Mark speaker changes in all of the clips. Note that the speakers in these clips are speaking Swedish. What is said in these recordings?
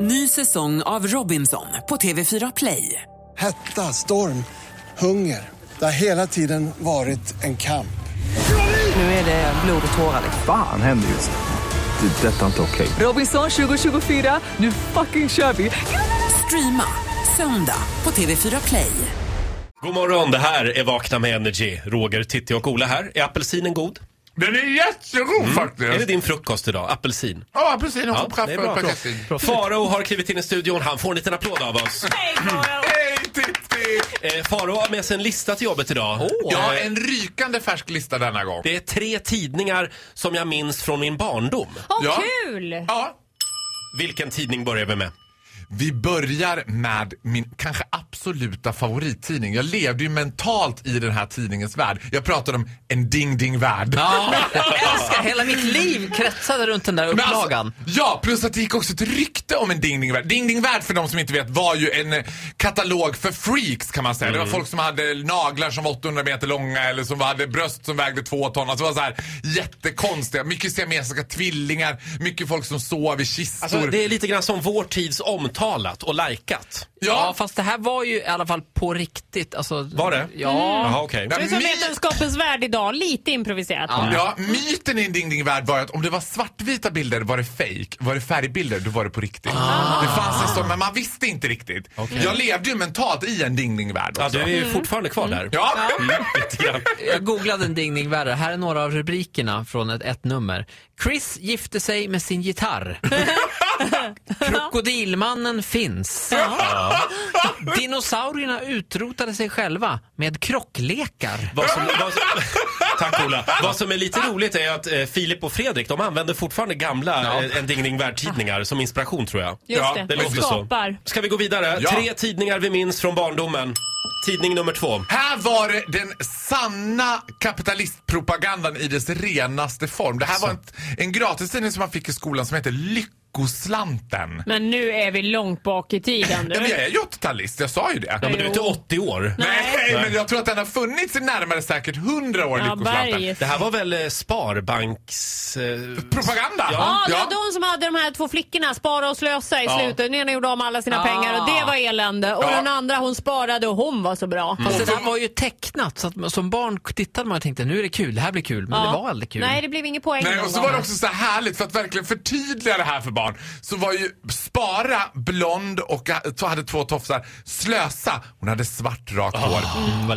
Speaker 1: Ny säsong av Robinson på TV4 Play.
Speaker 2: Hetta, storm, hunger. Det har hela tiden varit en kamp.
Speaker 1: Nu är det blod och tårar.
Speaker 3: Fan händer just nu. Det. är Detta är inte okej.
Speaker 1: Robinson 2024, nu fucking kör vi! Streama söndag på TV4 Play.
Speaker 4: God morgon, det här är Vakna med Energy. Roger, Titti och Ola här. Är apelsinen god?
Speaker 5: Den är jättegod faktiskt.
Speaker 4: Mm. Är det din frukost idag? Apelsin?
Speaker 5: Ja, precis. Och ja,
Speaker 4: det
Speaker 5: kaffe
Speaker 4: är bra.
Speaker 5: och potatis.
Speaker 4: Farao har klivit in i studion. Han får en liten applåd av oss.
Speaker 5: Hej Titti!
Speaker 4: Eh, Farao har med sig en lista till jobbet idag.
Speaker 5: Ja,
Speaker 4: Eh,
Speaker 5: en rykande färsk lista denna gång.
Speaker 4: Det är tre tidningar som jag minns från min barndom.
Speaker 6: Åh,
Speaker 5: Ja.
Speaker 6: kul!
Speaker 5: Ja,
Speaker 4: Vilken tidning börjar vi med?
Speaker 5: vi börjar med min kanske absoluta favorittidning. Jag levde ju mentalt i den här tidningens värld. Jag pratade om en ding-ding-värld.
Speaker 7: Jag älskar, hela mitt liv kretsade runt den där
Speaker 5: Men alltså-
Speaker 7: upplagan.
Speaker 5: ja, plus att det gick också ett rykte om en Ding Ding Värld. Ding Ding Värld för de som inte vet var ju en eh, katalog för freaks kan man säga.
Speaker 4: Mm.
Speaker 5: Det var folk som hade naglar som var 800 meter långa eller som hade bröst som vägde två ton. Alltså det var så här jättekonstiga. Mycket siamesiska tvillingar, mycket folk som sov i kistor.
Speaker 4: Alltså, det är lite grann som vår tids omtalat och likat.
Speaker 7: ja.
Speaker 5: Ja,
Speaker 7: fast det här var ju i alla fall på riktigt. Alltså,
Speaker 4: Var det? Mm.
Speaker 7: Ja.
Speaker 4: Jaha, okej.
Speaker 6: Det är som Vetenskapens värld idag, lite improviserat.
Speaker 5: Mm. Ja, myten i en Ding Ding Värld var ju att om det var svartvita bilder var det fake. Var det färgbilder då var det på riktigt.
Speaker 4: Ah.
Speaker 5: Det fanns en sån, men man visste inte riktigt. Jag levde ju mentalt i en Ding Ding Värld
Speaker 4: Ja,
Speaker 5: också.
Speaker 4: du är ju fortfarande kvar där.
Speaker 5: Ja.
Speaker 4: Mm, lite grann.
Speaker 7: Jag googlade en ding ding värre. Här är några av rubrikerna från ett, ett nummer. Chris gifte sig med sin gitarr. Krokodilmannen finns. Dinosaurierna utrotade sig själva med krocklekar.
Speaker 4: Vad som, vad som, tack Ola. Vad som är lite roligt är att eh, Filip och Fredrik, de använder fortfarande gamla eh, En Ding Ding Värld-tidningar som inspiration tror jag.
Speaker 6: Just
Speaker 5: Ja,
Speaker 6: det,
Speaker 4: det
Speaker 6: det
Speaker 4: låter så.
Speaker 6: skapar.
Speaker 4: Ska vi gå vidare?
Speaker 5: Ja.
Speaker 4: Tre tidningar vi minns från barndomen. Tidning nummer två.
Speaker 5: Här var det den sanna kapitalistpropagandan i dess renaste form. Det här var en, en gratistidning som man fick i skolan som heter Lyckoslanten.
Speaker 6: Men nu är vi långt bak i tiden
Speaker 5: Ja, men jag
Speaker 6: du.
Speaker 5: är ju 80-talist, jag sa ju det.
Speaker 4: Ja, men du är inte 80 år.
Speaker 5: Nej,
Speaker 4: Nej.
Speaker 5: men jag tror att den har funnits i närmare säkert 100 år,
Speaker 6: Ja,
Speaker 5: Lyckoslanten.
Speaker 6: berget.
Speaker 4: Det här var väl eh, Sparbanks... Eh,
Speaker 5: Propaganda!
Speaker 6: Ja, det var de som hade de här två flickorna, spara och slösa i slutet. Den ena gjorde om alla sina
Speaker 7: Ah.
Speaker 6: pengar och det var elände. Och
Speaker 5: Ja. Mm.
Speaker 6: den andra hon sparade och hon var så bra.
Speaker 7: Fast det där var ju tecknat, så att som barn tittade man och tänkte nu är det kul, det här blir kul. Men
Speaker 6: Ja.
Speaker 7: det var aldrig kul.
Speaker 6: Nej, det blev ingen poäng.
Speaker 5: Nej,
Speaker 6: någon
Speaker 5: Eh, och så var det
Speaker 6: gång.
Speaker 5: också så här härligt för att verkligen förtydliga det här för barn. Så var ju Spara blond och ha- hade två tofsar. Slösa, hon hade svart rakt hår.
Speaker 7: vad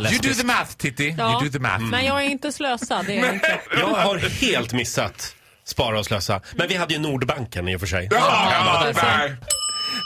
Speaker 5: you
Speaker 7: läskigt.
Speaker 5: do the math Titti,
Speaker 6: Ja. Mm.
Speaker 5: you do the math.
Speaker 6: Men jag är inte slösa. Det är jag inte.
Speaker 4: jag har helt missat Spara och Slösa. Men vi hade ju Nordbanken i och för sig.
Speaker 5: Ja, ja,
Speaker 6: precis.
Speaker 5: nej.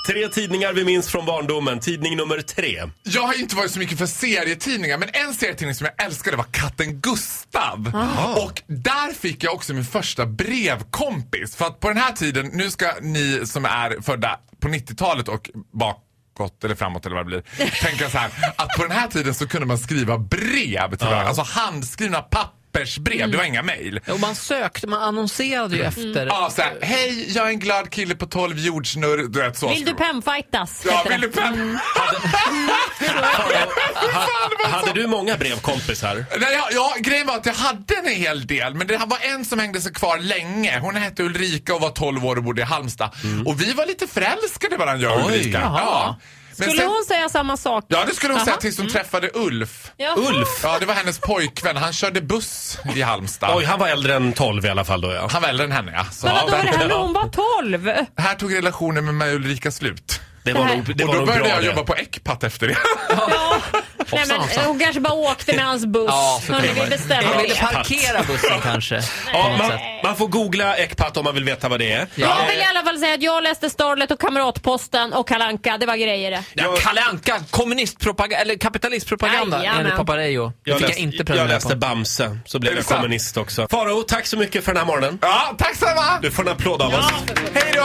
Speaker 4: Tre tidningar vi minns från barndomen. Tidning nummer tre.
Speaker 5: Jag har inte varit så mycket för serietidningar men en serietidning som jag älskade var Katten Gustav. Och där fick jag också min första brevkompis. För att på den här tiden, nu ska ni som är födda på 90-talet och bakåt eller framåt eller vad det blir. Tänka så här, att på den här tiden så kunde man skriva brev till varandra. Alltså handskrivna pappersbrev, det var inga mejl.
Speaker 7: Och man sökte, man annonserade ju efter.
Speaker 5: Ja, så här, hej jag är en glad kille på 12 jordsnurr. Du vet så.
Speaker 6: Vill du pemfightas?
Speaker 5: Ja,
Speaker 6: heter
Speaker 5: vill
Speaker 6: det.
Speaker 5: du pem?
Speaker 4: Hade du många brevkompisar?
Speaker 5: Nej, ja, ja, grejen var att jag hade en hel del, men det här var en som hängde sig kvar länge. Hon hette Ulrika och var 12 år och bodde i Halmstad. Och vi var lite förälskade i varandra, jag och
Speaker 4: Mm. Oj,
Speaker 5: Ulrika.
Speaker 4: jaha.
Speaker 5: Ja. Men
Speaker 6: Skulle
Speaker 5: sen,
Speaker 6: hon säga samma sak?
Speaker 5: ja, det skulle hon säga
Speaker 6: Aha.
Speaker 5: tills hon träffade Ulf.
Speaker 6: Jaha.
Speaker 4: Ulf?
Speaker 5: Ja, det var hennes pojkvän. Han körde buss i Halmstad.
Speaker 4: Oj, han var äldre än 12 i alla fall då ja.
Speaker 5: Han var äldre än henne, ja. Så,
Speaker 6: Men vadå,
Speaker 5: ja,
Speaker 6: var det här när
Speaker 4: Ja.
Speaker 6: hon var 12?
Speaker 5: men här tog relationen med mig och Ulrika slut.
Speaker 4: Det var nog, det
Speaker 5: och
Speaker 4: var
Speaker 5: då
Speaker 4: nog bra
Speaker 5: började jag
Speaker 4: det.
Speaker 5: jobba på Ecpat efter det.
Speaker 6: Ja. Nej, men,
Speaker 7: hoppsan.
Speaker 6: hon kanske bara åkte med hans buss.
Speaker 7: Ja, så
Speaker 6: Hörni,
Speaker 7: kan det
Speaker 6: vi
Speaker 7: vara.
Speaker 6: beställer
Speaker 7: Man ville
Speaker 6: det.
Speaker 7: parkera bussen kanske. på
Speaker 4: Ja,
Speaker 7: något
Speaker 4: man,
Speaker 7: sätt.
Speaker 4: man får googla Ecpat om man vill veta vad det är.
Speaker 6: Jag vill i alla fall säga att jag läste Starlet och Kamratposten och Kalanka. Det var grejer det.
Speaker 7: Ja, Kalle Anka, kommunistpropaganda, eller kapitalistpropaganda
Speaker 6: Jajamän.
Speaker 7: enligt Paparejo. Det fick jag
Speaker 4: läste-
Speaker 7: inte
Speaker 4: jag
Speaker 7: prenumerera
Speaker 4: läste
Speaker 7: på.
Speaker 4: Bamse, så blev
Speaker 5: Är
Speaker 4: jag
Speaker 5: det sant?
Speaker 4: kommunist också. Faro, tack så mycket för den här morgonen.
Speaker 5: Ja, tack så mycket.
Speaker 4: Du får en applåd av oss.
Speaker 5: Hej då!